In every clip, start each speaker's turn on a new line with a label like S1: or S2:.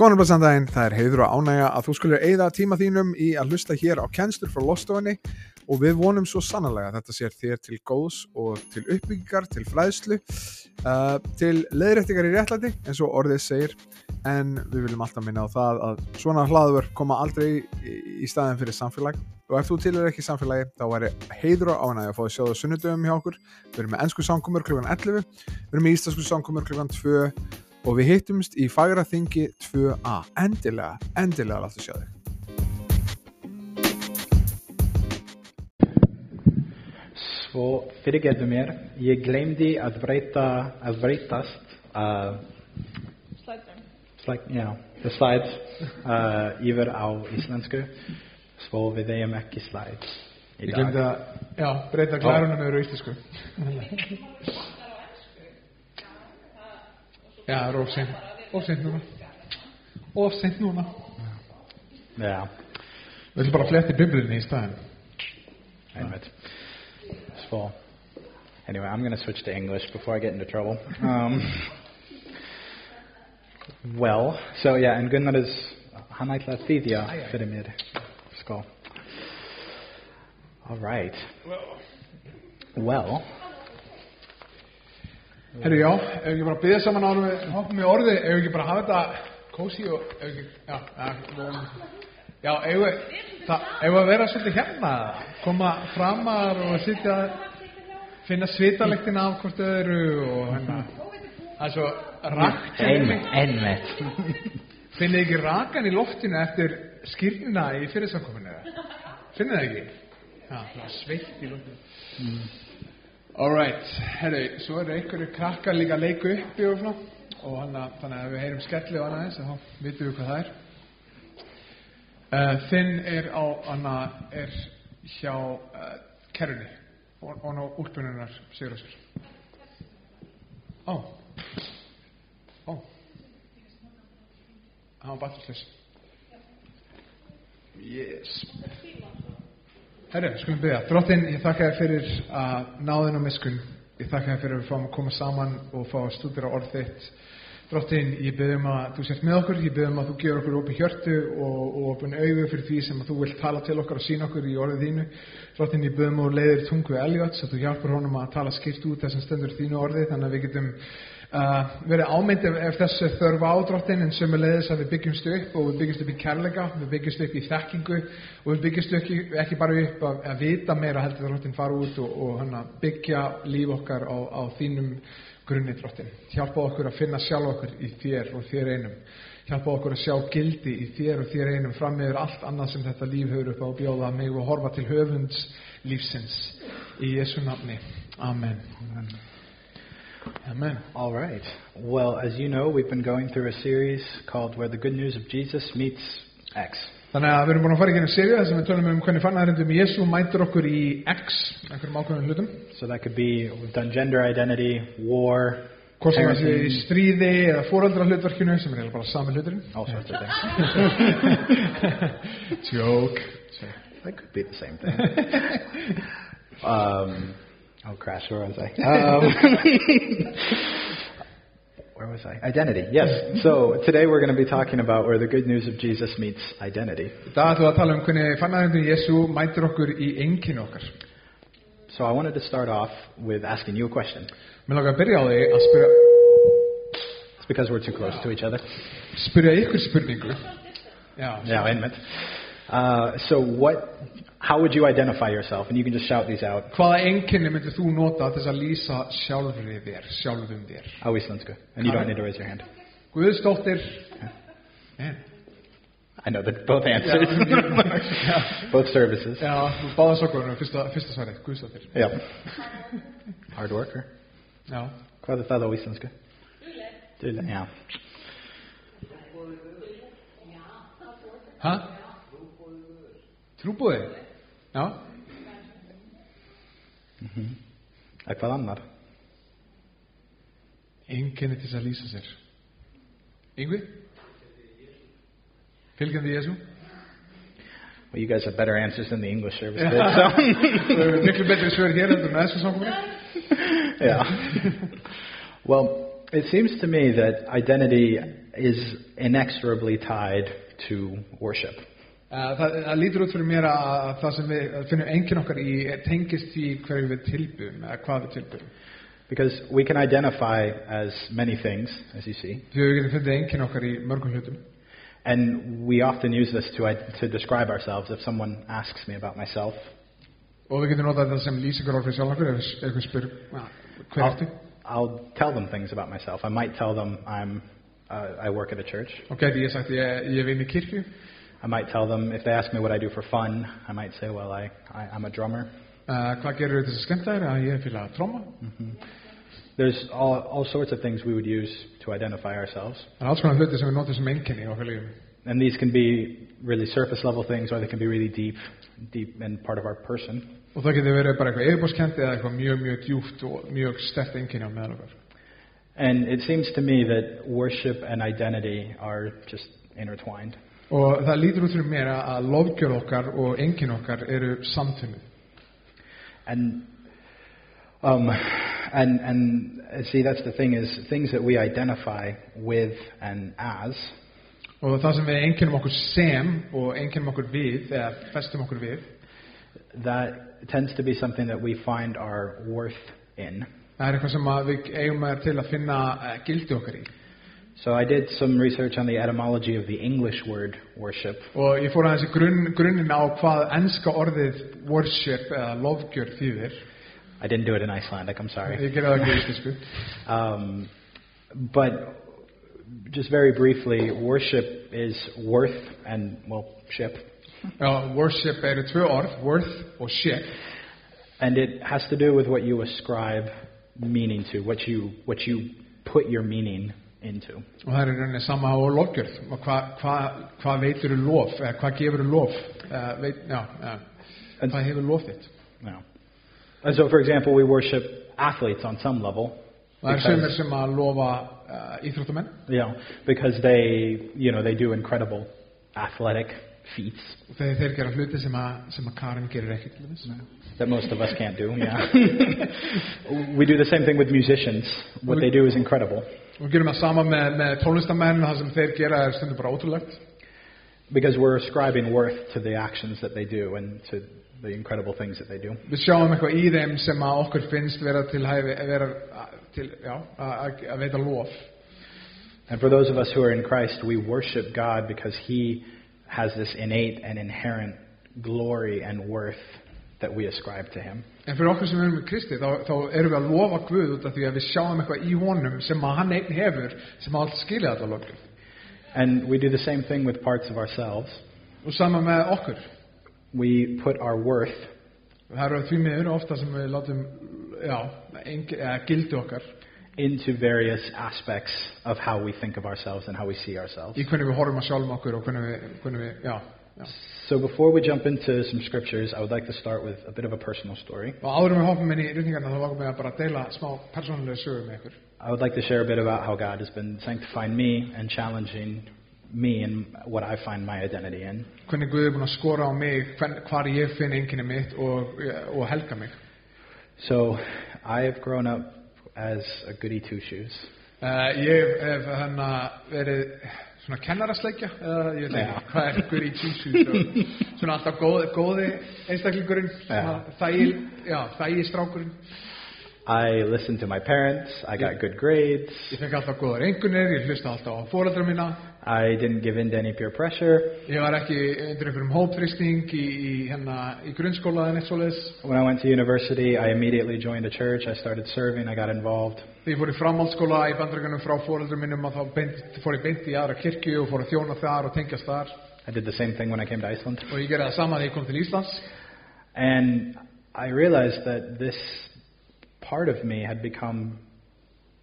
S1: Góðan blessandaginn, það er heiður og ánægja að þú skulir eigða tíma þínum í að hlusta hér á kennslur frá lostofinni og við vonum svo sannlega að þetta sér þér til góðs og til uppbyggingar, til fræðslu, uh, til leiðrættingar í réttlæti eins og orðið segir en við viljum alltaf minna á það að svona hlaðvörp koma aldrei í, í staðin fyrir samfélag og ef þú tilhör ekki samfélagi þá væri heiður og ánægja að fá því sjóðu sunnudöfum hjá okkur við erum með ennsku samkomur klukkan 11 við erum með íslensku samkomur klukkan 2 og við hittumst í Fagraþingi 2A. Endilega, endilega láttu sjá þig.
S2: Svo fyrirgeðu mér, ég glemdi að breyta, að breytast uh,
S3: Slættum.
S2: slæk, já, the slides uh, yfir á íslensku, svo við eigum ekki slides í
S4: Ég
S2: dag.
S4: glemdi að já, breyta glærunum yfir á íslensku. Já, það er ofseint. Ofseint núna. Ofseint núna.
S2: Já,
S4: Við ætlum bara að fletti biblinni í staðin.
S2: einmitt. Svo, anyway, I'm going to switch to English before I get into trouble. Um, well, so yeah, en Gunnar is, hann ætla að þýðja fyrir mér, sko. All right. Well,
S4: Herru, já, ef ekki bara byggja saman árum við hoppum í orði, ef ekki bara hafa þetta kósi og ef ekki, já, já, já, ef við, það, ef við að vera svolítið hérna, koma framar og sitja, finna svitalektina af hvort öðru og hérna, það er svo rakt,
S2: einmitt, einmitt.
S4: finnið ekki rakan í loftinu eftir skýrnina í fyrirsamkominu eða? Finnið það ekki? Já, það er sveitt í loftinu. Mm. Alright, herru, svo eru einhverju krakkar líka að leika uppi og svona og hana, þannig að ef við heyrum skelli og annað eins þá vitum við hvað það er. Uh, þinn er á, hana, er hjá uh, kerunni og hann á úlpununnar sigur á sér. Ó, ó, hann var batterslaus. Yes. Herru, skulum byrja. Drottinn, ég þakka þér fyrir að náðin og miskun. Ég þakka þér fyrir að við fáum að koma saman og fá að stúdera orð þitt. Drottinn, ég byrjum að þú sért með okkur, ég byrjum að þú gefur okkur opið hjörtu og, og opið auðu fyrir því sem að þú vilt tala til okkar og sína okkur í orðið þínu. Drottinn, ég byrjum að þú leiðir tungu Elliot, svo þú hjálpar honum að tala skýrt út þessum stendur í þínu orðið, þannig að við getum uh, verið ámynd ef, ef þessu þörf ádrottin en sömu leiðis að við byggjumst upp og við byggjumst upp í kærleika, við byggjumst upp í þekkingu og við byggjumst ekki, ekki bara upp að, að vita meira heldur drottin fara út og, og hana, byggja líf okkar á, á þínum grunni drottin. Hjálpa okkur að finna sjálf okkur í þér og þér einum. Hjálpa okkur að sjá gildi í þér og þér einum fram yfir allt annað sem þetta líf höfur upp á að bjóða mig og horfa til höfunds lífsins í Jesu nafni. Amen. Amen. Amen.
S2: All right. Well, as you know, we've been going through a series called Where the Good News of Jesus Meets X.
S4: Þannig að við erum búin að fara í hérna sérið þar sem við tölum um hvernig fannaðarindum Jésu mætir okkur í X, einhverjum ákveðum hlutum.
S2: So that could be, we've done gender identity, war,
S4: Hvort sem það sé í
S2: parenting,
S4: stríði eða fóröldra hlutverkinu sem er eiginlega bara sami hluturinn.
S2: all sorts of things.
S4: Joke.
S2: That could be the same thing. um, oh, crash, where was I? Um, where was I? Identity, yes. So today we're going to be talking about where the good news of Jesus meets identity.
S4: Í dag ætlum við að tala um hvernig fannaðarindum Jésu mætir okkur í enginu okkar.
S2: So I wanted to start off with asking you a question.
S4: Mér langar að byrja á því að spyrja,
S2: It's because we're too close to each other.
S4: spyrja ykkur spurningu. Já,
S2: Yeah, intimate. Uh, so what? How would you identify yourself? And you can just shout these out.
S4: hvaða enginni myndir þú nota til þess að lýsa sjálfri þér, sjálfum þér?
S2: Oh, sounds good. And you don't need to raise your hand.
S4: Guðsdóttir. Man.
S2: I know that both answers, both services.
S4: Já, þú báða sokkunum, fyrsta, fyrsta svarið, Guðsdóttir.
S2: Yep. Hard worker.
S4: Já.
S2: Hvað er það á íslensku? Dugleg. Já.
S4: Hæ? Trúbúði? Já.
S2: Eitthvað annar.
S4: Enginni til þess að lýsa sér. Yngvi? Fylgjandi Jésu?
S2: Well, you guys have better answers than the English service did.
S4: Þau eru miklu betri svör hér heldur en aðeins og samkominu.
S2: yeah. well, It seems to me that identity is inexorably tied to worship.
S4: Eh, Það, það lítur út fyrir mér að það sem við finnum engin okkar í er tengist því hverju við tilbyðum eða hvað við tilbyðum.
S2: Because we can identify as many things, as you see,
S4: Því við getum fundið engin okkar í mörgum hlutum.
S2: and we often use this to, i- to describe ourselves. If someone asks me about myself,
S4: Og við getum notað þetta sem lýsingar orð fyrir sjálf okkur ef ef einhver spyr ja, hver
S2: I'll,
S4: ertu?
S2: I'll tell them things about myself. I might tell them I'm, uh, I work at a church.
S4: Og gæti ég sagt ég, ég vinn í kirkju.
S2: I might tell them, if they ask me what I do for fun, I might say, well, I, I, I'm a drummer.
S4: Uh, hvað gerir þetta sem skemmt þær? Að ég fylg að tróma.
S2: There's all, all sorts of things we would use to identify ourselves.
S4: Það er alls konar hluti sem við notum sem einkenni á fylgjum.
S2: And these can be really surface level things, or they can be really deep, deep and part of our person.
S4: Og það getur verið bara eitthvað yfirbórskennt eða eitthvað mjög, mjög djúft og mjög stert einkenni á meðal okkar.
S2: And it seems to me that worship and identity are just intertwined.
S4: Og það lítur út fyrir mér að- að lofgjörð okkar og einkenni okkar eru samtunni.
S2: And um, and and see, that's the thing is things that we identify with and as
S4: Og það sem við einkennum okkur sem og einkennum okkur við eða festum okkur við,
S2: that tends to be something that we find our worth in.
S4: það er eitthvað sem að við eigum að til að finna eh, gildi okkar í.
S2: So I did some research on the etymology of the English word worship,
S4: Og ég fór aðeins í grunn, grunninn á hvað enska orðið worship eða lofgjörð þýðir.
S2: I didn't do it in Icelandic, I'm sorry.
S4: Ég gerði það ekki í íslensku.
S2: Um, but just very briefly, worship is worth and, well, ship.
S4: Já, worship eru tvö orð, worth og ship.
S2: And it has to do with what you ascribe meaning to, what you, what you put your meaning into.
S4: Og það er í rauninni sama á lofgjörð. Og hvað hva, hva veitur þú lof, eða hvað gefur þú lof, eða veit, já, já,
S2: En-
S4: hvað hefur lof þitt.
S2: No. And so, for example, we worship athletes on some level.
S4: Það er
S2: Because-
S4: sömur sem að lofa uh, íþróttamenn.
S2: you know, because they, you know, they do incredible athletic feats
S4: Og þeir, þeir gera hluti sem að, sem að Karin gerir ekki til þess.
S2: that most of us can't do. Yeah, we do the same thing with musicians. What they do is incredible
S4: Og við gerum það sama með, með tónlistamenn, það sem þeir gera er stundum bara ótrúlegt.
S2: because we're ascribing worth to the actions that they do and to the incredible things that they do.
S4: Við sjáum eitthvað í þeim sem að okkur finnst vera til hæfi, vera til, já, að, að- að veita lof.
S2: And for those of us who are in Christ, we worship God because He has this innate and inherent glory and worth that we ascribe to Him.
S4: En fyrir okkur sem erum með Kristi, þá, þá erum við að lofa Guð út af því að við sjáum eitthvað í honum sem að hann einn hefur, sem að allt skilja þetta lofið.
S2: And we do the same thing with parts of ourselves.
S4: Og sama með okkur.
S2: We put our worth
S4: Það eru því miður ofta sem við látum, já, engi, eða, gildi okkar
S2: into various aspects of how we think of ourselves and how we see ourselves.
S4: í hvernig við horfum að sjálfum okkur og hvernig við, hvernig við já, já.
S2: So before we jump into some scriptures, I would like to start with a bit of a personal story.
S4: Og áður en við hoppum inn í rýtingarna þá vakum við að bara deila smá persónulega sögur með ykkur.
S2: I would like to share a bit about how God has been sanctifying me and challenging me and what I find my identity in.
S4: hvernig Guð er búinn að skora á mig, hvern, hvar ég finn enginni mitt og, og helga mig.
S2: So I have grown up as a goody two shoes.
S4: Uh, ég hef hann verið svona kennarasleikja, eða ég veit
S2: Já.
S4: ekki hvað er Guð í tímsjú, svona alltaf góði, góði einstaklingurinn, svona þægil, já, þægil strákurinn.
S2: I listened to my parents. I got good grades.
S4: Ég fekk alltaf góðar engunir, ég hlusta alltaf á fóraldra mína,
S2: I didn't give in to any peer pressure.
S4: ég var ekki undir einhverjum hópfristing í, í, hérna, í grunnskóla eða neitt svoleiðis.
S2: When I went to university, I immediately joined a church. I started serving. I got involved.
S4: Þegar ég fór í framhaldsskóla í bandröganum frá fóraldrum minnum að þá beint, fór ég beint í aðra kirkju og fór að þjóna þar og tengjast þar.
S2: I did the same thing when I came to Iceland.
S4: og ég gerði það sama þegar ég kom til Íslands
S2: And I realized that this part of me had become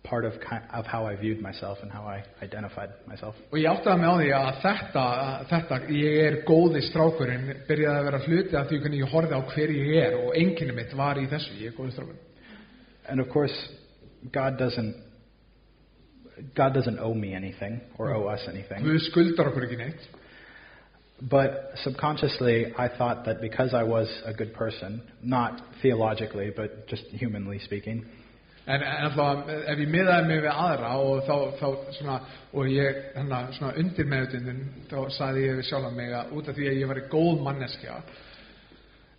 S2: part of, ki- of how I viewed myself and how I identified myself.
S4: og ég áttaði mig á því að þetta, að þetta ég er góði strákurinn byrjaði að vera hluti af því hvernig ég horfði á hver ég er og enginni mitt var í þessu, ég er góði strákurinn
S2: And of course, God doesn't, God doesn't owe me anything or owe us anything.
S4: Guð skuldar okkur ekki neitt
S2: But subconsciously, I thought that because I was a good person, not theologically, but just humanly speaking,
S4: En, en alltaf, ef ég miðaði mig við aðra og þá, þá svona, og ég, hérna, svona undir meðutundin, þá saði ég við sjálf mig að út af því að ég var í góð manneskja,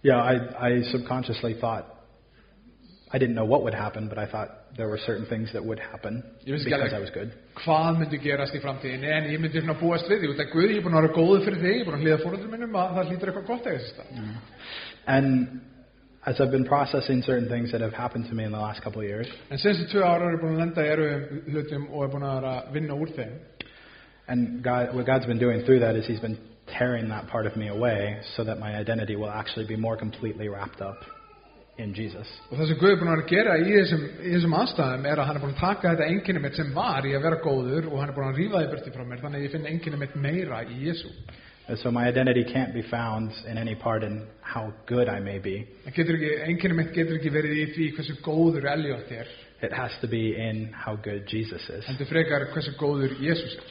S2: Yeah, I, I subconsciously thought, I didn't know what would happen, but I thought there were certain things that would happen
S4: You just
S2: because
S4: gotta-
S2: I was good.
S4: hvað myndi gerast í framtíðinni, en ég myndi svona búast við því, út af Guð, ég er búin að vera góður fyrir þig, ég er búin að hliða fóröldur minnum að það hlýtur eitthvað gott eða þess að.
S2: And as I've been processing certain things that have happened to me in the last couple of years,
S4: En senstu tvö ára er ég búin að lenda í erfum hlutum og er búin að vera að vinna úr þeim.
S2: and God, what God's been doing through that is He's been tearing that part of me away so that my identity will actually be more completely wrapped up in Jesus.
S4: Og það sem Guð er búin að vera að gera í þessum, í þessum aðstæðum er að hann er búin að taka þetta enginni mitt sem var í að vera góður og hann er búin að rífa þið burti frá mér þannig að ég finn enginni mitt meira í Jésu.
S2: And so my identity can't be found in any part in how good I may be.
S4: En getur ekki, enginni mitt getur ekki verið í því hversu góður Elliot er,
S2: It has to be in how good Jesus is.
S4: heldur frekar hversu góður Jésus er.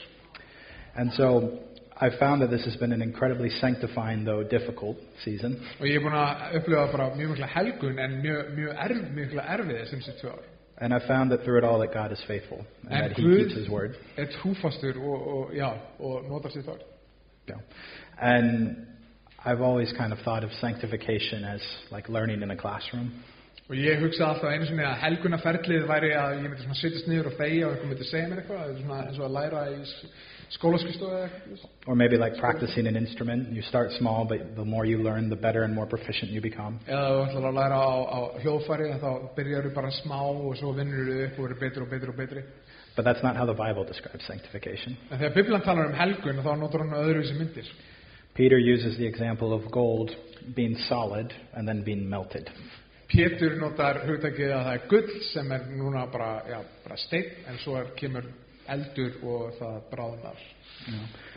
S2: And so I found that this has been an incredibly sanctifying, though difficult, season.
S4: Og ég er búin að upplifa bara mjög mikla helgun en mjög, mjög, erf, mjög mikla erfið þessum sér tvö ár.
S2: And I found that through it all that God is faithful and,
S4: And
S2: that He
S4: good.
S2: keeps His word.
S4: Er trúfastur og, og, já, og notar sér tvö ár.
S2: Yeah. And I've always kind of thought of sanctification as like learning in a classroom.
S4: Og ég hugsa alltaf einu sinni að helgunarferlið væri að ég myndi svona sittast niður og þegja og einhver myndi segja mér eitthvað, eða svona eins og að læra í skólaskristofu eða eitthvað.
S2: Or maybe like practicing an instrument. You start small, but the more you learn, the better and more proficient you become.
S4: Eða þú ætlar að læra á, á hljóðfæri þá byrjar þú bara smá og svo vinnur þú upp og verður betri og betri og betri.
S2: But that's not how the Bible describes sanctification.
S4: En þegar Biblan talar um helgun þá notar hann öðruvísi myndir.
S2: Peter uses the example of gold being solid and then being melted.
S4: Pétur notar hugtakið að það er gull sem er núna bara, já, bara steinn en svo er, kemur eldur og það bráðnar.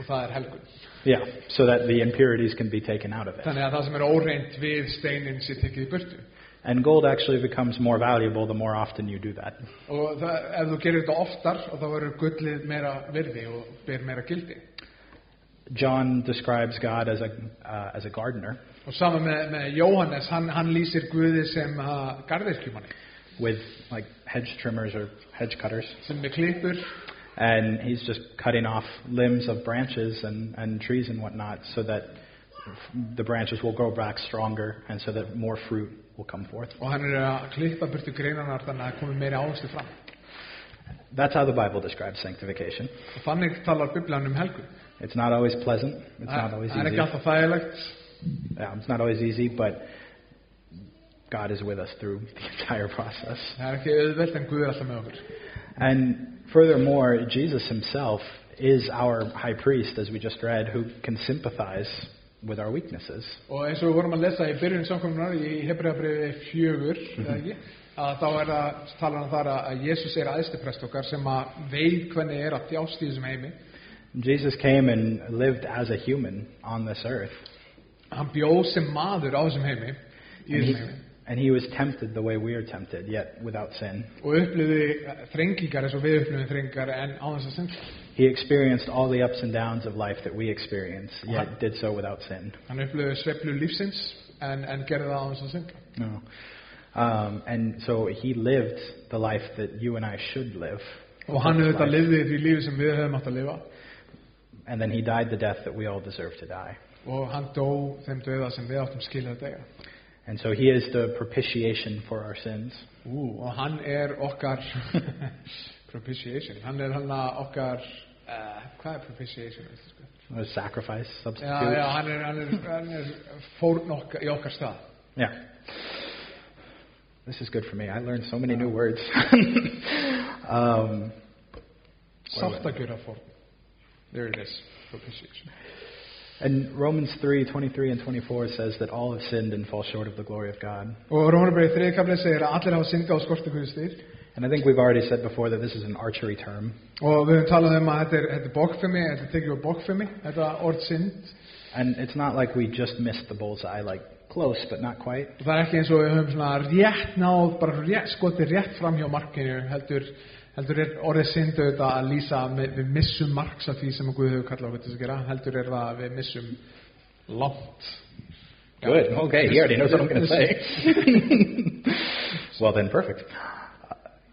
S4: Og það er helgun.
S2: Yeah, so that the impurities can be taken out of it.
S4: Þannig að það sem er óreint við steinin sér tekið í burtu.
S2: And gold actually becomes more valuable the more often you do that.
S4: Og það, ef þú gerir þetta oftar þá verður gullið meira virði og ber meira gildi.
S2: John describes God as a, uh, as a gardener
S4: Og sama með, með Jóhannes, hann, hann lýsir Guði sem uh, garðirkjumanni,
S2: with like hedge trimmers or hedge cutters.
S4: sem er klippur
S2: And he's just cutting off limbs of branches and, and trees and whatnot so that the branches will grow back stronger and so that more fruit will come forth.
S4: og hann er að klippa burtu greinanar þannig að það komi meira áherslu fram.
S2: That's how the Bible describes sanctification.
S4: Og þannig talar Biblian um helgu.
S2: It's not always pleasant. It's not
S4: Það
S2: always
S4: það er
S2: easy.
S4: ekki alltaf þægilegt,
S2: Yeah, it's not always easy, but God is with us through the entire process.
S4: það er ekki auðvelt en Guð er alltaf með okkur.
S2: And furthermore, Jesus himself is our high priest, as we just read, who can sympathize with our weaknesses.
S4: Og eins og við vorum að lesa í byrjun samkominar í Hebreabriði fjögur, eða ekki, að þá er það talan um þar að- að Jésús er aðstiprest okkar sem að veit hvernig er að djást í þessum heimi.
S2: Jesus came and lived as a human on this earth,
S4: hann bjóð sem maður á þessum heimi í
S2: and he,
S4: þessum heimi
S2: and he was tempted the way we are tempted, yet without sin.
S4: og upplifði þrengingar eins og við upplifðum þrengingar en á þess að syngja
S2: He experienced all the ups and downs of life that we experience, yet did so without sin.
S4: hann upplifði sveiflu lífsins en, en gerði það á þess að syngja
S2: No. Um, and so he lived the life that you and I should live.
S4: og hann auðvitað lifði því lífi sem við höfum átt að lifa
S2: And then he died the death that we all deserve to die.
S4: og hann dó þeim döða sem við áttum skilja að degja
S2: And so he is the propitiation for our sins.
S4: Ú, og hann er okkar propitiation hann er hann að okkar uh, hvað er propitiation? á íslensku?
S2: A sacrifice, substitute.
S4: Já, já, hann er, hann er, hann er fórn okkar, í okkar stað
S2: Yeah. This is good for me. I learned so many new words. um,
S4: sáttakjöra fórn there it is, propitiation
S2: and Romans 3 23 and 24 says that all have sinned and fall short of the glory of God.
S4: Og Rómarbreyð þriðkaflið segir að allir hafa syndað og skorti Guðs dýr
S2: And I think we've already said before that this is an archery term.
S4: og við höfum talað um að þetta er, þetta er bókfemi, þetta er tekið úr bókfemi, þetta orð synd
S2: And it's not like we just missed the bullseye, like close but not quite.
S4: og það er ekki eins og við höfum svona rétt náð, bara rétt, skotið rétt fram hjá markinu heldur, heldur er orðið synd auðvitað að lýsa að við- við missum marks af því sem Guð hefur kallað okkur til að gera heldur er það að við missum langt
S2: Good. Okay, he already knows what I'm going to say. well, then, perfect.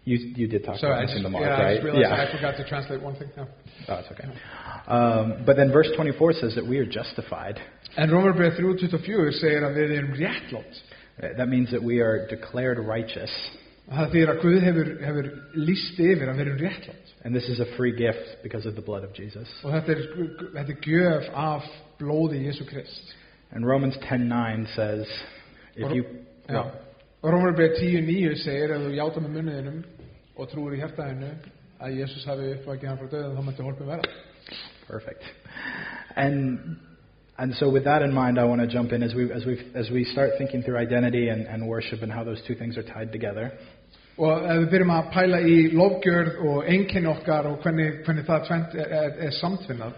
S2: You, you did talk
S4: Sorry,
S2: about
S4: I
S2: this
S4: just,
S2: in the mark,
S4: yeah, I
S2: right?
S4: just realized
S2: yeah.
S4: I forgot to translate one thing now.
S2: Oh, it's okay. Um, but then verse 24 says that we are justified.
S4: En Rómarbreið 3.24 segir að við erum réttlátt.
S2: Uh, That means that we are declared righteous.
S4: Það þýðir að Guð hefur, hefur líst yfir að við erum réttlátt.
S2: And this is a free gift because of the blood of Jesus.
S4: Og þetta er, þetta er gjöf af blóði Jésu Krist.
S2: And Romans 10:9 says, if
S4: Or-
S2: you oh,
S4: Já. Og Rómarbreið 10.9 segir að þú játa með munniðinum og trúir í hjartaðinu að Jésus hafi uppvækið hann frá döðum þá mætti hólpum vera.
S2: perfect. And and so with that in mind, I want to jump in as we as we as we start thinking through identity and, and worship and how those two things are tied together.
S4: Og ef við byrjum að pæla í lofgjörð og einkenn okkar og hvernig, hvernig það tvent er, er, er samtvinnað,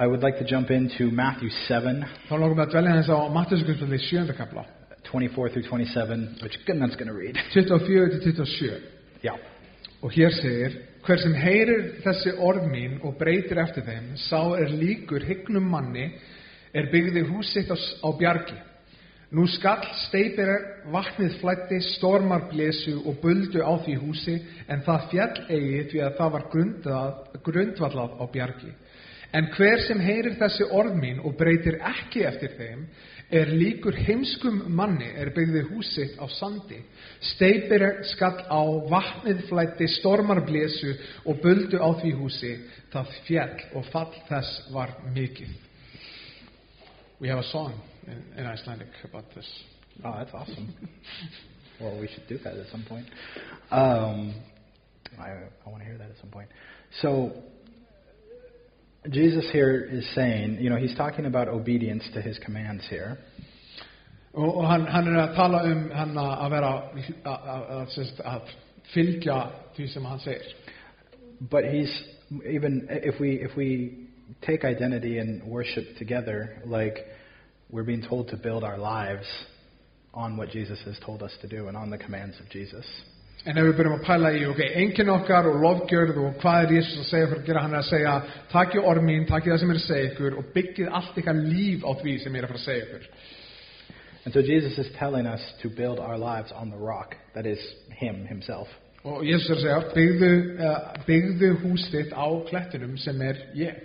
S2: I would like to jump into Matthew 7,
S4: þá langum við að dvelja hans á Matthæsugundalli 7. kapla,
S2: 24 through 27, which Gunnar's going to read.
S4: 24 til 27.
S2: Yeah.
S4: Og hér segir, hver sem heyrir þessi orð mín og breytir eftir þeim, sá er líkur hygnum manni, er byggði hús sitt á, á bjargi. Nú skall steipir vatnið flætti, stormar blésu og buldu á því húsi, en það fjall eigi því að það var grundað, grundvallað á bjargi. En hver sem heyrir þessi orð mín og breytir ekki eftir þeim, er líkur heimskum manni, er byggði húsitt á sandi. Steipir skall á, vatnið flætti, stormar blésu og buldu á því húsi, það fjall og fall þess var mikið. We have a song in, in Icelandic about this.
S2: Oh, that's awesome. well, we should do that at some point. Um, I, I want to hear that at some point. So, Jesus here is saying, you know, he's talking about obedience to his commands here.
S4: Og, og hann, hann er að tala um hann að að vera, að, að, að, sem sagt, að fylgja því sem hann segir.
S2: But he's, even if we, if we take identity and worship together, like we're being told to build our lives on what Jesus has told us to do and on the commands of Jesus.
S4: En ef við byrjum að pæla í, ok, enginn okkar og lofgjörð og hvað er Jésus að segja fyrir að gera hann er að segja, takki orð mín, takki það sem ég er að segja ykkur og byggið allt ykkar líf á því sem ég er að fara að segja ykkur.
S2: And so Jesus is telling us to build our lives on the rock that is Him Himself.
S4: Og Jésus er að segja, byggðu, uh, byggðu hús þitt á klettinum sem er ég.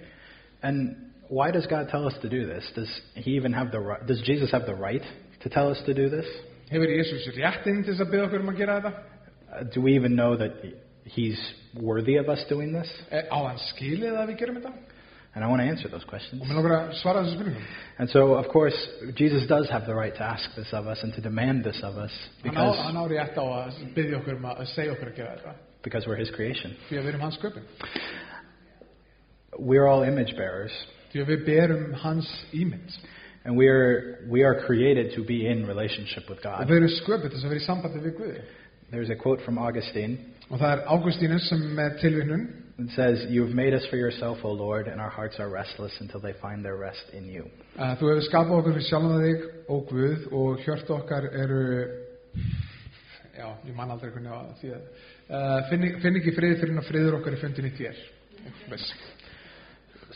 S2: And why does God tell us to do this? Does He even have the right? Does Jesus have the right to tell us to do this?
S4: Hefur Jésus réttinn til þess að byggja okkur um að gera þetta?
S2: Uh, do we even know that He's worthy of us doing this?
S4: Eh, Á hann skilið að við gerum þetta?
S2: And I want to answer those questions.
S4: Og mér langar að svara þessu spurningum.
S2: And so, of course, Jesus does have the right to ask this of us and to demand this of us
S4: Hann á,
S2: because,
S4: hann á rétt á að byggja okkur um að, að segja okkur að gera þetta.
S2: because we're His creation.
S4: Því að við erum hans sköpun.
S2: We're all image bearers,
S4: Því að við berum hans ímynd.
S2: and we are, we are created to be in relationship with
S4: Og
S2: God.
S4: við erum sköpun þess að vera í sambandi við Guði.
S2: There's a quote from Augustine
S4: Og það er Águstínus sem er tilvinnun
S2: It says, You have made us for yourself, O Lord, and our hearts are restless until they find their rest in you.
S4: að Uh, þú hefur skapað okkur fyrir sjálfan þig og Guð og hjört okkar eru já, ég man aldrei hvernig á því að uh, finn, finn ekki frið fyrir en að friður okkar er fundin í þér Veist.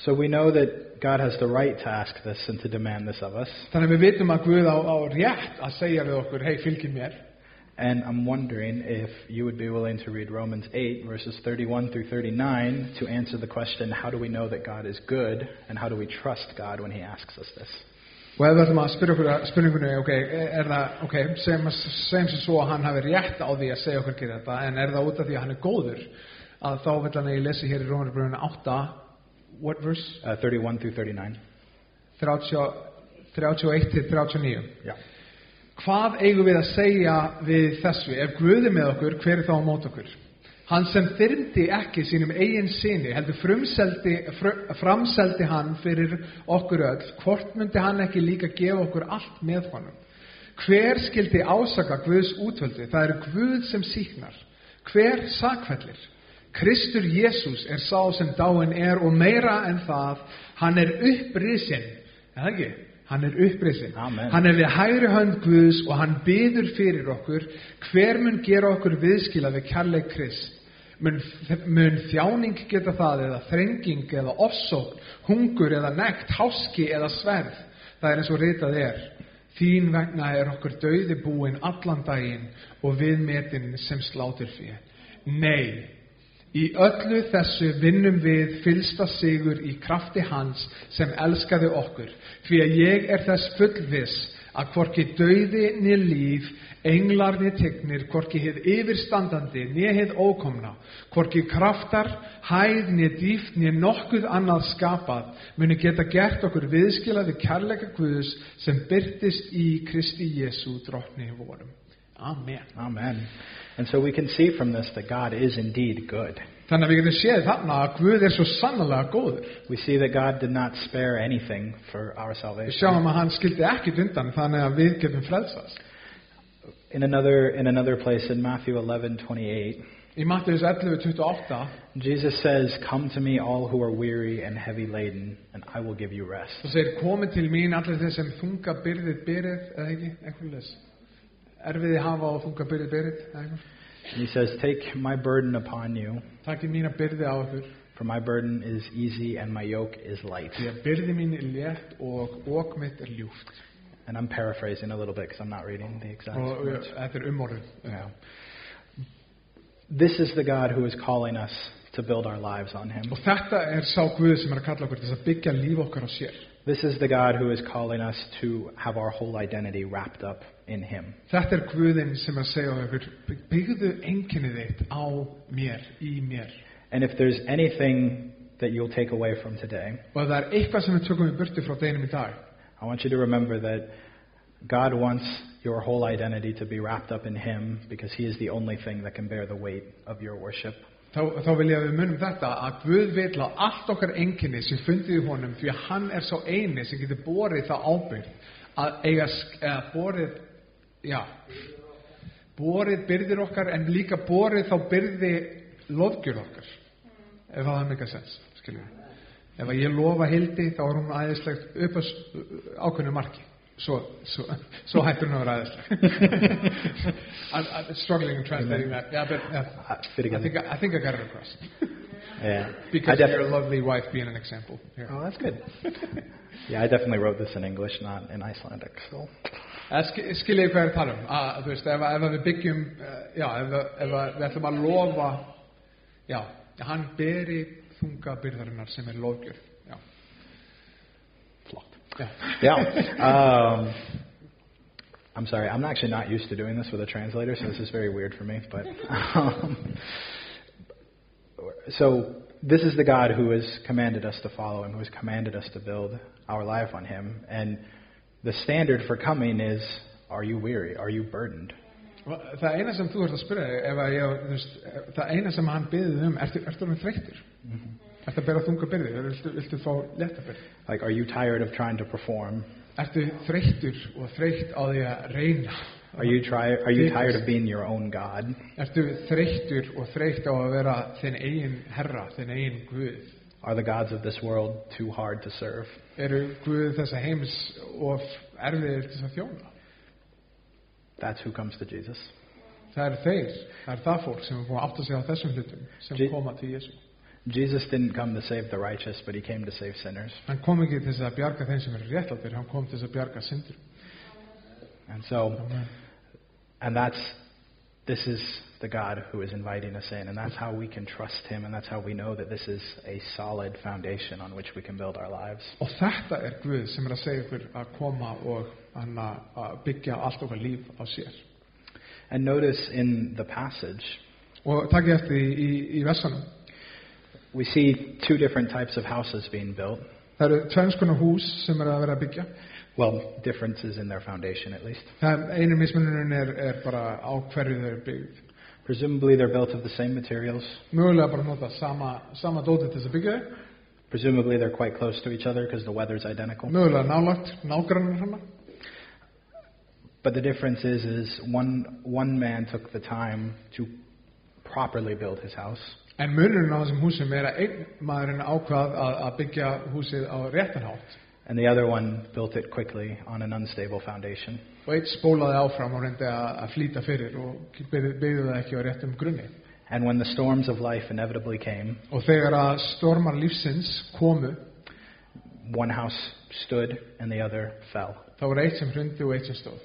S2: So we know that God has the right to ask this and to demand this of us.
S4: Þannig að við vitum að Guð á, á rétt að segja við okkur hei, fylgið mér
S2: And I'm wondering if you would be willing to read Romans 8, verses 31 through 39, to answer the question, How do we know that God is good, and how do we trust God when He asks us this?
S4: og ef við ætlum að spyrja okkur að- spurningunni ok, er það, ok, segjum sem svo að hann hafi rétt á því að segja okkur að gera þetta, en er það út af því að hann er góður að þá vil hann að ég lesi hér í Rómarbrunna 8 what verse?
S2: Uh, 31 through 39.
S4: 31 til 39
S2: Yeah.
S4: Hvað eigum við að segja við þessu? Ef Guði með okkur, hver er þá á mót okkur? Hann sem fyrndi ekki sínum eigin sinni, heldur frumseldi, fr framseldi hann fyrir okkur öll, hvort myndi hann ekki líka gefa okkur allt með honum? Hver skildi ásaka Guðs útvöldu? Það eru Guð sem síknar. Hver sakfellir? Kristur Jésús er sá sem dáin er og meira en það, hann er upprisinn, er það ekki? Hann er upprisinn.
S2: Amen.
S4: Hann er við hægri hönd Guðs og hann byður fyrir okkur, hver mun gera okkur viðskila við kærleik Krist? Mun, mun þjáning geta það eða þrenging eða ofsókn, hungur eða nekt, háski eða sverð? Það er eins og ritað er. Þín vegna er okkur dauði búin allan daginn og viðmetin sem slátur fyrir. Nei, í öllu þessu vinnum við fylsta sigur í krafti hans sem elskaði okkur, því að ég er þess fullviss að hvorki dauði niður líf, englar niður tegnir, hvorki hið yfirstandandi niður hið ókomna, hvorki kraftar, hæð niður dýft niður nokkuð annað skapað, muni geta gert okkur viðskilaði kærleika Guðus sem byrtist í Kristi Jésu drottni vorum. Amen.
S2: Amen. And so we can see from this that God is indeed good.
S4: Þannig að við getum séð þarna að Guð er svo sannlega góður.
S2: We see that God did not spare anything for our
S4: Við
S2: salvation.
S4: sjáum að hann skildi ekkit undan þannig að við getum frelsast.
S2: In another in another place in Matthew 11:28,
S4: Í Matteus 11.28
S2: Jesus says, "Come to me all who are weary and heavy laden, and I will give you rest."
S4: Það segir, komið til mín allir þeir sem þunga byrðið byrðið, eða ekki, einhvern les. Erfiði hafa og þunga byrðið byrðið, eða einhvern.
S2: And he says, "Take my burden upon you,
S4: Takk í mína byrði á okkur.
S2: for my burden is easy and my yoke is light."
S4: Því að byrði mín er létt og ok mitt er ljúft.
S2: And I'm paraphrasing a little bit because I'm not reading the exact
S4: Og uh,
S2: words.
S4: þetta er umorðið.
S2: Yeah. This is the God who is calling us to build our lives on Him.
S4: Og þetta er sá Guð sem er að kalla okkur til þess að byggja líf okkar á sér.
S2: This is the God who is calling us to have our whole identity wrapped up in Him.
S4: Þetta er Guðin sem er að segja á okkur, byggðu enginnið þitt á mér, í mér.
S2: And if there's anything that you'll take away from today,
S4: Og ef það er eitthvað sem við tökum í burtu frá deginum í dag,
S2: I want you to remember that God wants your whole identity to be wrapped up in Him because He is the only thing that can bear the weight of your worship.
S4: Þá, þá vil ég að við munum þetta að Guð vil að allt okkar enginni sem fundið í honum því að hann er sá eini sem getur borið það ábyrgð að eiga sk- eða borið já borið byrðir okkar en líka borið þá byrði loðgjur okkar ef það er mikið sens skiljum við ef að ég lofa hildi þá er hún aðeinslegt upp að ákveðnu marki svo, svo, svo hættur hún að vera aðeinslegt I'm, I'm struggling in translating that yeah, but, yeah.
S2: Uh, Fit
S4: I
S2: again.
S4: think I, I think I got it across.
S2: Yeah. I
S4: Because
S2: def-
S4: of your lovely wife being an example. Here.
S2: oh, that's good. yeah, I definitely wrote this in English, not in Icelandic. So.
S4: Að sk- Skiljið hvað ég er að tala um. Að, þú veist, ef, að- ef að við byggjum, uh, já, ef, að- ef að við ætlum að lofa, já, hann beri þunga byrðarinnar sem er lofgjörð. Já.
S2: Flott.
S4: já.
S2: Yeah. Um, I'm sorry. I'm actually not used to doing this with a translator, so this is very weird for me. But um, so this is the God who has commanded us to follow Him, who has commanded us to build our life on Him, and the standard for coming is: Are you weary? Are you burdened?
S4: Og Það eina sem þú ert að spyrja, þig, ef að ég, þú veist, það eina sem hann byrðið um, ertu, ertu hann þreyttur?
S2: Mhm.
S4: Ertu að bera þunga byrði? Viltu, viltu fá letta byrði?
S2: Like, are you tired of trying to perform?
S4: Ertu þreyttur og þreytt á því að reyna?
S2: Are you try? Are you tired of being your own God?
S4: Ertu þreyttur og þreytt á að vera þinn eigin herra, þinn eigin Guð?
S2: Are the gods of this world too hard to serve?
S4: Eru Guð þessa heims of erfiðir til þess að þjóna?
S2: That's who comes to Jesus.
S4: Það eru þeir, það er það fólk sem er búin að átta sig á þessum hlutum sem
S2: Je-
S4: koma til Jésu.
S2: Jesus didn't come to save the righteous, but he came to save sinners.
S4: Hann kom ekki til þess að bjarga þeim sem eru réttlátir, hann kom til þess að bjarga syndur.
S2: And so, and that's, this is the God who is inviting us in. And that's how we can trust him. And that's how we know that this is a solid foundation on which we can build our lives.
S4: Og þetta er Guð sem er að segja ykkur að koma og hann að að byggja allt okkar líf á sér.
S2: And notice in the passage,
S4: Og takk ég eftir í, í, í vessanum.
S2: we see two different types of houses being built.
S4: Það eru tvennskonar hús sem er að vera að byggja.
S2: Well, differences in their foundation, at least.
S4: Það einu mismununum er, er bara á hverju þau eru byggð.
S2: Presumably, they're built of the same materials.
S4: Mögulega bara nota sama, sama dótið til þess að byggja þau.
S2: Presumably, they're quite close to each other because the weather's identical.
S4: Mögulega nálagt nágrannar hana.
S2: But the difference is, is one, one man took the time to properly build his house,
S4: En munurinn á þessum húsum er að einn maðurinn ákvað að, að byggja húsið á réttan hátt
S2: and the other one built it quickly on an unstable foundation.
S4: og einn spólaði áfram og reyndi að, að flýta fyrir og byggði, byggði það ekki á réttum grunni.
S2: And when the storms of life inevitably came,
S4: Og þegar að stormar lífsins komu,
S2: one house stood and the other fell.
S4: þá var eitt sem hrundi og eitt sem stóð.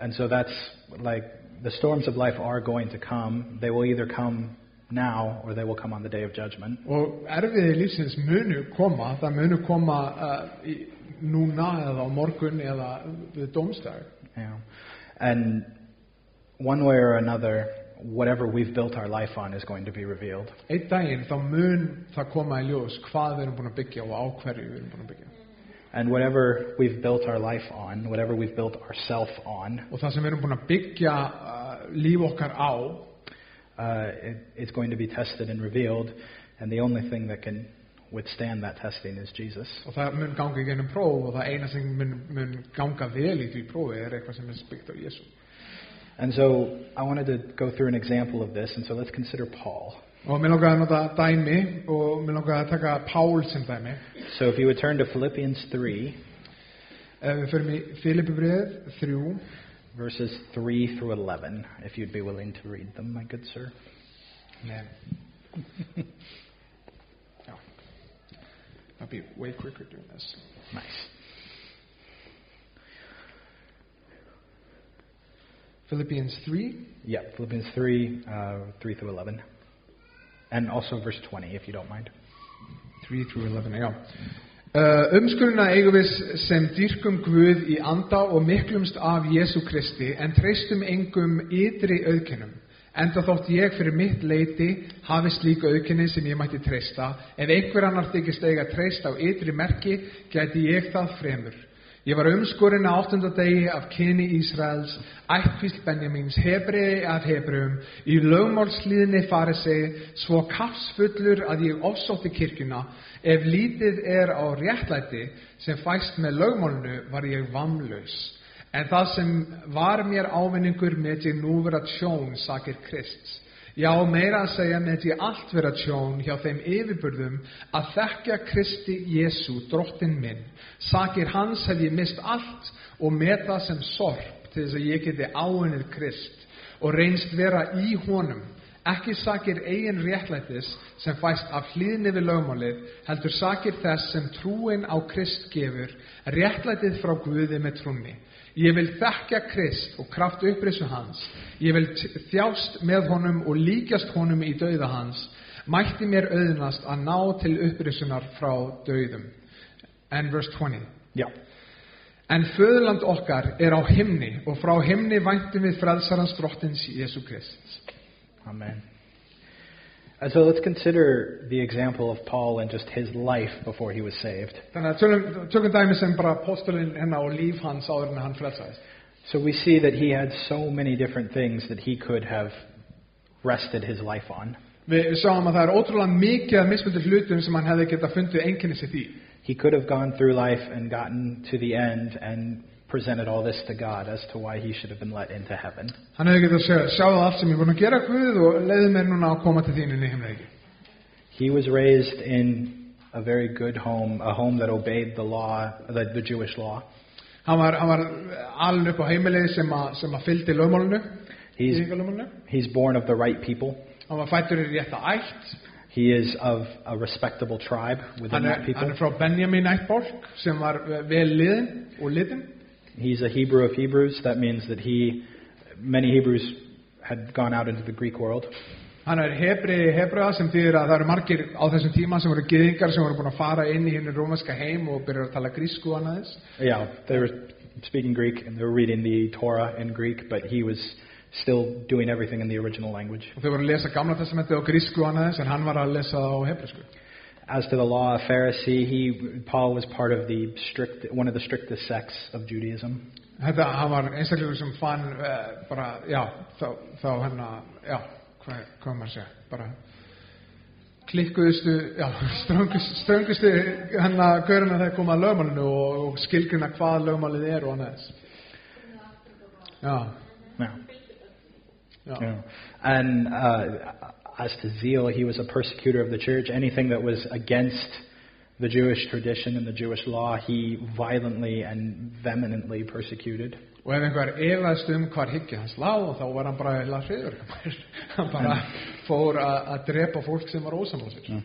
S2: And so that's like the storms of life are going to come. They will either come now or they will come on the day of judgment.
S4: Og erfiði lífsins munu koma, það munu koma uh, í, núna eða á morgun eða við dómstag.
S2: You know. And one way or another, whatever we've built our life on is going to be revealed.
S4: Einn daginn þá mun það koma í ljós hvað við erum búin að byggja og á hverju við erum búin að byggja.
S2: And whatever we've built our life on, whatever we've built ourself on,
S4: Og það sem við erum búin að byggja uh, líf okkar á,
S2: uh, it, it's going to be tested and revealed. And the only thing that can withstand that testing is Jesus.
S4: og það mun ganga í gennum próf og það eina sem mun, mun ganga vel í því prófi er eitthvað sem er byggt á Jésu.
S2: And so I wanted to go through an example of this. And so let's consider Paul.
S4: Og mér langaði að nota dæmi og mér langaði að taka Pál sem dæmi.
S2: So if you would turn to Philippians 3,
S4: Ef Uh, við förum í Filipubrið 3,
S2: verses 3 through 11, if you'd be willing to read them, my good sir.
S4: Man. oh. I'll be way quicker doing this.
S2: Nice.
S4: Philippians 3.
S2: Yeah, Philippians 3, uh, 3 through 11. And also verse 20, if you don't mind.
S4: 3 through 11, já. Uh, umskurna eigum við sem dýrkum Guð í anda og miklumst af Jésu Kristi en treystum engum ytri auðkennum. Enda þótt ég fyrir mitt leiti hafi slíku auðkenni sem ég mætti treysta. Ef einhver annar þykist eiga að treysta á ytri merki, gæti ég það fremur. Ég var umskorinn á áttunda degi af kyni Ísraels, ættkvísl Benjamins, hebreiði af hebreum, í lögmálslíðinni farið segi, svo kapsfullur að ég ofsótti kirkjuna, ef lítið er á réttlæti sem fæst með lögmálnu var ég vamlaus. En það sem var mér ávinningur með ég nú vera tjón, sakir Krists. Já, meira að segja með ég allt vera tjón hjá þeim yfirburðum að þekkja Kristi Jésu, drottin minn. Sakir hans hef ég mist allt og með það sem sorp til þess að ég geti áunnið Krist og reynst vera í honum. Ekki sakir eigin réttlætis sem fæst af hlýðni við lögmálið, heldur sakir þess sem trúin á Krist gefur, réttlætið frá Guði með trúni. Ég vil þekkja Krist og kraft upprisu hans. Ég vil t- þjást með honum og líkjast honum í dauða hans. Mætti mér auðnast að ná til upprisunar frá dauðum. And verse 20.
S2: Yeah.
S4: En föðurland okkar er á himni og frá himni væntum við frelsarans drottins Jésu Krist.
S2: Amen. And so let's consider the example of Paul and just his life before he was saved.
S4: Þannig að tölum, tökum dæmi sem bara postulinn hennar og líf hans áður en hann frelsaðist.
S2: So we see that he had so many different things that he could have rested his life on.
S4: Við sjáum að það er ótrúlega mikið af mismunandi hlutum sem hann hefði getað fundið enginni sitt í.
S2: He could have gone through life and gotten to the end and presented all this to God as to why he should have been let into heaven.
S4: Hann hefði getað sjá, sjáð allt sem ég er búinn að gera Guð og leiði mér núna að koma til þín inn í heimleiki.
S2: He was raised in a very good home, a home that obeyed the law, the, the Jewish law.
S4: Hann var, hann var alin upp á heimilegi sem, að- sem að fylgdi lögmálunu,
S2: He's,
S4: íðingalögmálunu.
S2: he's born of the right people.
S4: Hann var fættur í rétta ætt.
S2: He is of a respectable tribe within
S4: Hann er,
S2: that
S4: hann
S2: people.
S4: er frá Benjamin ættbólk sem var eh, vel liðin og litin.
S2: He's a Hebrew of Hebrews. That means that he, many Hebrews had gone out into the Greek world.
S4: Hann er hebriði hebriða sem þýðir að það eru margir á þessum tíma sem voru gyðingar sem voru búin að fara inn í henni rómanska heim og byrja að tala grísku annaðis.
S2: Yeah, they were speaking Greek and they were reading the Torah in Greek, but he was still doing everything in the original language.
S4: Og þau voru að lesa gamla testamenti á grísku annaðis en hann var að lesa það á hebrisku.
S2: As to the law, a Pharisee, he Paul was part of the strict one of the strictest sects of Judaism.
S4: Þetta, hann var einstaklega sem fann uh, bara, já, þá, þá hérna, já, hvað, hvað á maður að segja, bara klikkuðustu, já, ströngustu, ströngustu hérna göruna þegar koma að lögmálinu og, og skilgrina hvað lögmálið er og annars. Já,
S2: Yeah.
S4: já.
S2: Yeah. And uh, as to zeal, he was a persecutor of the church. Anything that was against the Jewish tradition and the Jewish law, he violently and vehemently persecuted.
S4: Og ef einhver efaðist um hvar hyggja hans lág, þá var hann bara eða hriður. hann bara fór að að drepa fólk sem var ósamlásir.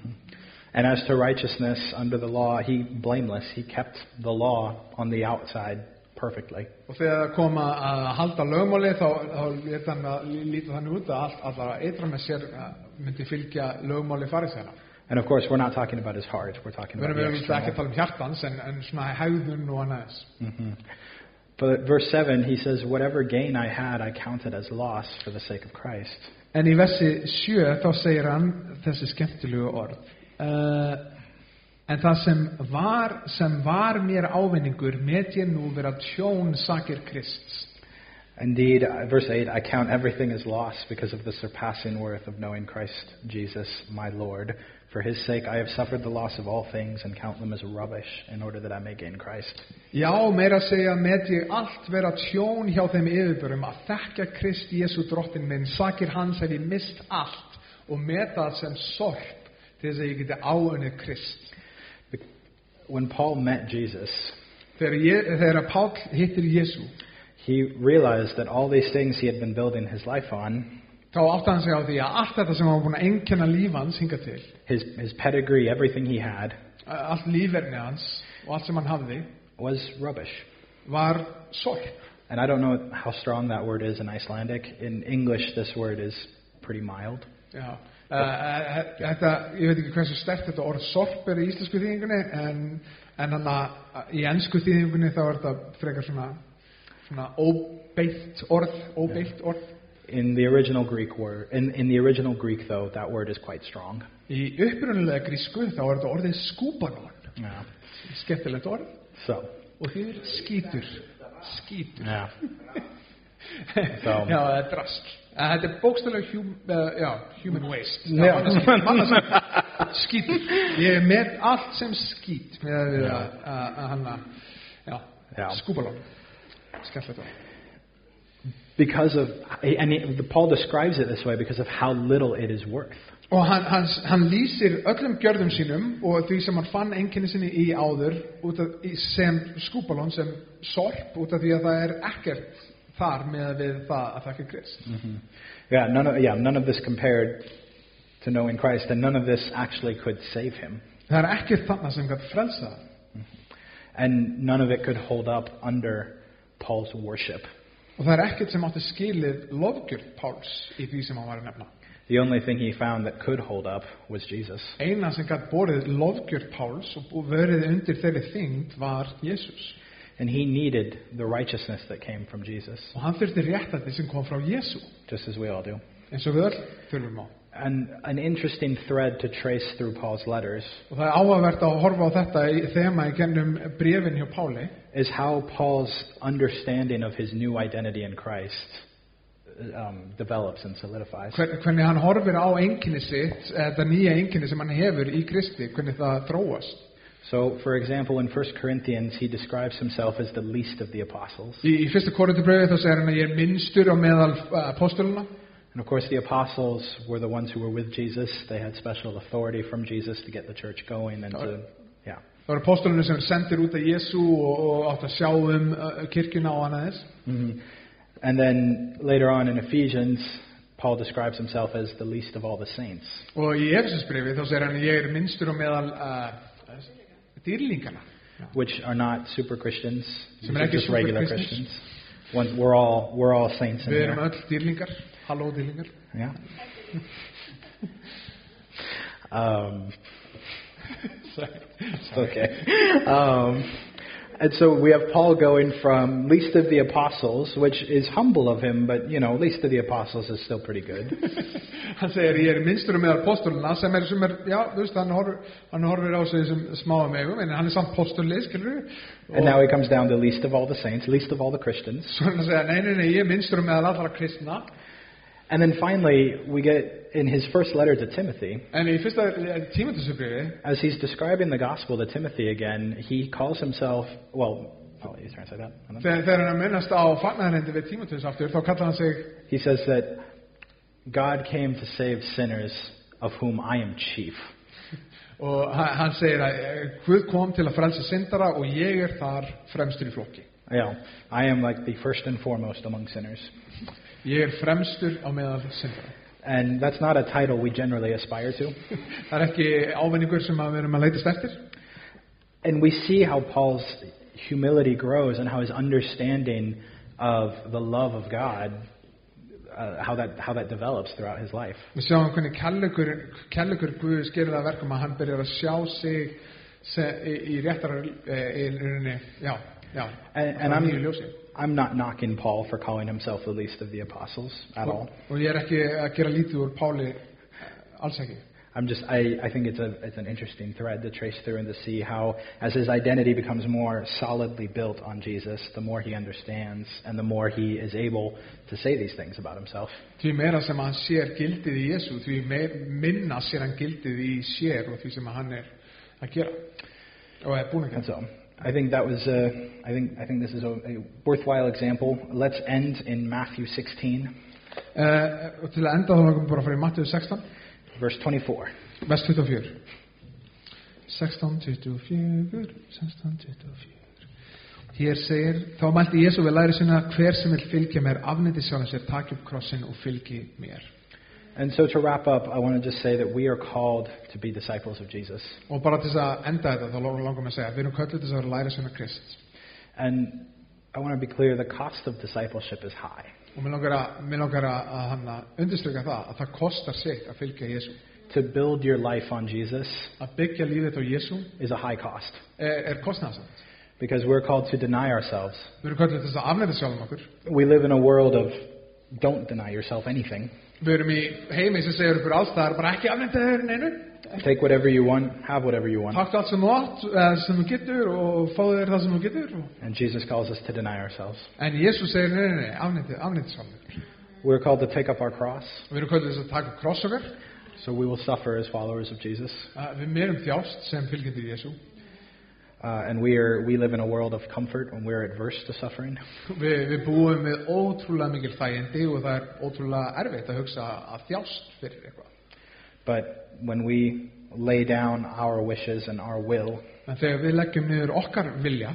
S2: And as to righteousness under the law, he blameless. He kept the law on the outside perfectly.
S4: Og þegar það kom að, að halda lögmáli þá, þá lét hann að lí- líta þannig út að allt allar eitra með sér uh, myndi fylgja lögmáli farið þeirra.
S2: And of course, we're not talking about his heart. We're talking
S4: Við
S2: about
S4: erum
S2: the
S4: auðvitað ekki að
S2: external.
S4: tala um hjartans en, en svona hegðun og annaðis.
S2: But verse 7, he says, Whatever gain I had, I counted as loss for the sake of Christ.
S4: En í versi 7 þá segir hann þessi skemmtilegu orð. Uh, en það sem var, sem var mér ávinningur met ég nú vera tjón sakir Krists.
S2: Indeed, uh, verse 8, I count everything as loss because of the surpassing worth of knowing Christ Jesus, my Lord. For his sake, I have suffered the loss of all things and count them as rubbish in order that I may gain Christ.
S4: Já, meira að segja met ég allt vera tjón hjá þeim yfirbörum að þekka Krist Jésu drottin minn, sakir hans hef ég mist allt og met það sem sorp til þess að ég geti áunnið Krist.
S2: When Paul met Jesus,
S4: Þegar, ég, þegar Páll hittir Jésu,
S2: he realized that all these things he had been building his life on,
S4: þá átti hann sig á því að allt þetta sem hann var búin að einkenna líf hans hinga til,
S2: his, his pedigree, everything he had,
S4: allt lífverni hans og allt sem hann hafði
S2: was rubbish.
S4: var sorg.
S2: And I don't know how strong that word is in Icelandic. In English, this word is pretty mild.
S4: Já. Uh, uh, þetta, ég veit ekki hversu stert þetta orð sorp er í íslensku þýðingunni en, en hann að í ennsku þýðingunni þá er þetta frekar svona, svona óbeitt orð, óbeitt orð.
S2: In the original Greek word, in, in the original Greek though, that word is quite strong.
S4: Í upprunulega grísku þá er þetta orðið skúbanón,
S2: Yeah.
S4: skemmtilegt orð
S2: So.
S4: og þýðir skítur, skítur.
S2: Yeah.
S4: já, það er drast. En Þetta er bókstæðlega hum, uh, já, human waste.
S2: Já.
S4: Skít. Ég er með allt sem skít með að við að- að að eh, hann að, já,
S2: Já.
S4: skúbalón. Skemmtilegt orð.
S2: Because of, and he, Paul describes it this way because of how little it is worth.
S4: Og hann, hann, hann lýsir öllum gjörðum sínum og því sem hann fann enginni sinni í áður út af, í- sem skúbalón, sem sorp út af því að það er ekkert þar með að við það að þakka krist.
S2: Mm. Yeah, none of, yeah, none of this compared to knowing Christ, and none of this actually could save him.
S4: Það er ekkert þarna sem gætt frelsa það.
S2: And none of it could hold up under Paul's worship.
S4: Og það er ekkert sem átti skilið lofgjörð Páls í því sem hann var að nefna.
S2: The only thing he found that could hold up was Jesus.
S4: Eina sem gætt borið lofgjörð Páls og bú- verið undir þeirri þyngd var Jésús.
S2: And he needed the righteousness that came from Jesus,
S4: Og hann þurfti réttandi sem kom frá Jésú,
S2: just as we all do.
S4: eins og við öll þurfum á.
S2: And an interesting thread to trace through Paul's letters
S4: Og það er áhugavert að horfa á þetta í þema í gennum brefin hjá Páli.
S2: is how Paul's understanding of his new identity in Christ um, develops and solidifies.
S4: Hvern- Hvernig hann horfir á enginni sitt, eh, þetta nýja enginni sem hann hefur í Kristi, hvernig það þróast.
S2: So, for example, in 1 Corinthians, he describes himself as the least of the apostles.
S4: Í, í fyrsta korintubröfi þá segir hann að ég er minnstur á meðal eh, apostoluna.
S2: And of course, the apostles were the ones who were with Jesus. They had special authority from Jesus to get the church going and to, yeah.
S4: Það eru apostolunir sem eru sendir út af Jésu og, og átt að sjá um uh, kirkjuna og annað þess.
S2: hmm And then later on in Ephesians, Paul describes himself as the least of all the saints.
S4: Og í Efesinsbrifi þá segir hann ég er minnstur og meðal uh, dýrlingana.
S2: which are not super Christians. These
S4: Some
S2: are
S4: like
S2: just
S4: super
S2: regular
S4: Christians.
S2: Christians. One- we're all we're all saints in
S4: Við erum
S2: here.
S4: öll dýrlingar, halló dýrlingar.
S2: Yeah. um, it's okay. Um, and so we have Paul going from least of the apostles, which is humble of him, but you know, least of the apostles is still pretty good.
S4: Hann segir ég er minnstur og meðal apostoluna sem er, sem er já, þú veist, hann horfir, hann horfir á sig sem smáum eigum, en hann er samt apostolið, skilur við.
S2: and now he comes down to least of all the saints, least of all the Christians.
S4: Svo er hann að segja, nei, nei, nei, ég er minnstur og meðal allra kristna.
S2: And then finally, we get in his first letter to Timothy,
S4: En í fyrsta eh, tímatisbrifi,
S2: As he's describing the gospel to Timothy again, he calls himself, well, I'll let you translate that. And then-
S4: þegar, þegar hann er að minnast á fagnarhendi við tímatis aftur, þá kallar hann sig
S2: He says that God came to save sinners of whom I am chief.
S4: Og hann hann segir að eh, Guð kom til að frelsa syndara og ég er þar fremstur í flokki.
S2: You know, I am like the first and foremost among sinners.
S4: Ég er fremstur á meðal syndara.
S2: And that's not a title we generally aspire to.
S4: Það er ekki ávinningur sem að við erum að leitast eftir.
S2: And we see how Paul's humility grows and how his understanding of the love of God, uh, how that how that develops throughout his life.
S4: Við sjáum hvernig kærleikur, kærleikur Guðs gerir það að verkum að hann byrjar að sjá sig se, í, í réttar í, í rauninni, já, já,
S2: And,
S4: frá
S2: and
S4: nýju
S2: I'm
S4: ljósi.
S2: I'm not knocking Paul for calling himself the least of the apostles at all.
S4: Og, og ég er ekki að gera lítið úr Páli, eh, alls ekki.
S2: I'm just I, I think it's a it's an interesting thread to trace through and to see how as his identity becomes more solidly built on Jesus, the more he understands and the more he is able to say these things about himself.
S4: Því meira sem hann sér gildið í Jésu, því meir, minna sér hann gildið í sér og því sem hann er að gera og er búin að
S2: And
S4: gera.
S2: so I think that was uh, I think I think this is a, a worthwhile example. Let's end in Matthew 16,
S4: Uh, og til að enda þá langum við bara að fara í Matthew 16,
S2: verse 24.
S4: vers 24. 16, 24, 16, 24. Hér segir, þá mælti Jésu við læri sinna, hver sem vil fylgja mér, afnýtti sjálfum sér, taki upp krossin og fylgi mér.
S2: And so to wrap up, I want to just say that we are called to be disciples of Jesus.
S4: Og bara til þess að enda þetta, þá langum við að segja, við erum kölluð til þess að vera læri sinna Krist.
S2: And I want to be clear, the cost of discipleship is high.
S4: Og mér langar að, mér langar að, að hann að undirstryka það að það kostar sitt að fylgja Jésu.
S2: To build your life on Jesus
S4: Að byggja lífið á Jésu
S2: is a high cost
S4: er, er kostnæðsamt.
S2: because we're called to deny ourselves.
S4: Við erum kallið til þess að afnæta sjálfum okkur.
S2: We live in a world of don't deny yourself anything.
S4: Við erum í heimi sem segir okkur allstaðar bara ekki afnæta þér neinu.
S2: Take whatever you want, have whatever you want.
S4: Takk allt sem þú átt, eh, sem þú getur og fáðu þér það sem þú getur. Og-
S2: And Jesus calls us to deny ourselves.
S4: En Jésu segir neinu, neinu, afnæta, afnæta sjálfum okkur.
S2: We're called to take up our cross,
S4: Og Við erum kallið til þess að taka upp kross okkar.
S2: so we will suffer as followers of Jesus.
S4: Eh, Við merum þjást sem fylgjandi Jésu.
S2: Uh, and we, are, we live in a world of comfort when we're adverse to suffering.
S4: Við, við búum með ótrúlega mikil þægindi og það er ótrúlega erfitt að hugsa að þjást fyrir eitthvað.
S2: But when we lay down our wishes and our will,
S4: En þegar við leggjum niður okkar vilja,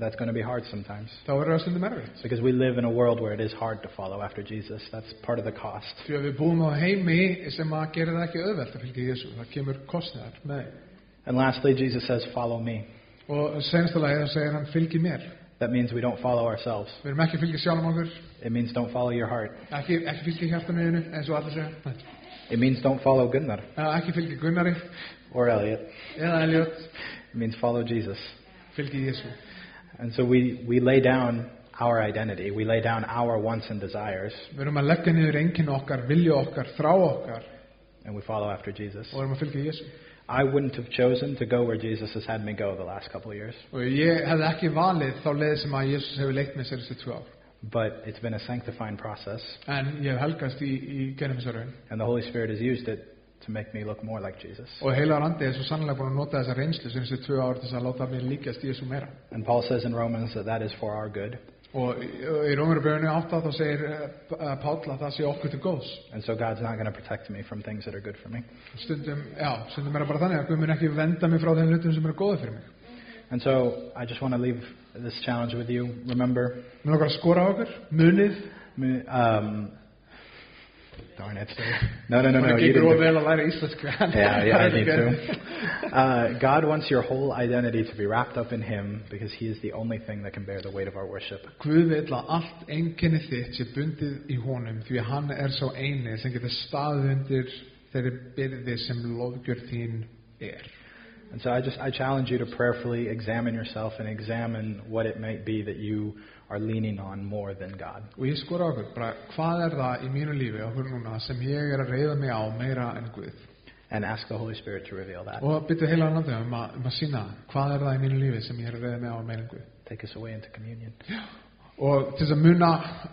S2: that's going to be hard sometimes.
S4: þá er það stundum erfitt.
S2: Because we live in a world where it is hard to follow after Jesus. That's part of the cost.
S4: Því að við búum á heimi sem að gera það ekki auðvelt að fylgja Jésu. Það kemur kostnæðar með þeim.
S2: And lastly, Jesus says, Follow me.
S4: Og senstulega þá segir hann, fylgi mér.
S2: That means we don't follow ourselves.
S4: Við erum ekki að fylgja sjálfum okkur,
S2: It means don't follow your heart.
S4: ekki, ekki fylgja hjartaneðinu, eins og allir segja. Nei.
S2: It means don't follow Gunnar
S4: Eh, Ekki fylgja Gunnari
S2: or Elliot.
S4: eða Eliott,
S2: It means follow Jesus.
S4: fylgja Jésu.
S2: And so we, we lay down our identity. We lay down our wants and desires,
S4: Við erum að leggja niður enginn okkar, vilja okkar, þrá okkar
S2: and we follow after Jesus.
S4: og erum að fylgja Jésu.
S2: I wouldn't have chosen to go where Jesus has had me go the last couple of years,
S4: Og ég hefði ekki valið þá leið sem að Jésús hefur leitt með sér þessi tvö ár.
S2: but it's been a sanctifying process,
S4: En ég hef helgast í, í genum þessu raun.
S2: and the Holy Spirit has used it to make me look more like Jesus.
S4: Og heilar andi er svo sannlega búin að nota þessa reynslu sem þessi tvö ár til þess að láta mér líkast Jésu meira.
S2: And Paul says in Romans that that is for our good.
S4: Og í í Rómuruböðinu átta þá segir uh, Páll að það sé okkur til góðs.
S2: And so God's not going to protect me from things that are good for me.
S4: Stundum, já, stundum er það bara þannig að Guð mun ekki venda mig frá þeim hlutum sem eru góða fyrir mig.
S2: And so I just want to leave this challenge with you. Remember,
S4: Mér okkar að skora á okkur, munið,
S2: um, darn it. No, no, no, no.
S4: það
S2: You
S4: gengur of
S2: didn't.
S4: vel að læra íslensku.
S2: Yeah, yeah, I
S4: Það er
S2: need
S4: ekki-
S2: to. Uh, God wants your whole identity to be wrapped up in Him because He is the only thing that can bear the weight of our worship.
S4: Guð vil að allt enginni þitt sé bundið í honum því að hann er sá eini sem getur staðið undir þeirri byrði sem lofgjörð þín er.
S2: And so I just I challenge you to prayerfully examine yourself and examine what it might be that you are leaning on more than God.
S4: Og ég skora á okkur, bara hvað er það í mínu lífi okkur núna sem ég er að reyða mig á meira en Guð?
S2: and ask the Holy Spirit to reveal that.
S4: Og byrju heila hann andið um, að- um að sína hvað er það í mínu lífi sem ég er að reyða mig á meira en Guð?
S2: Take us away into communion.
S4: Og til þess að muna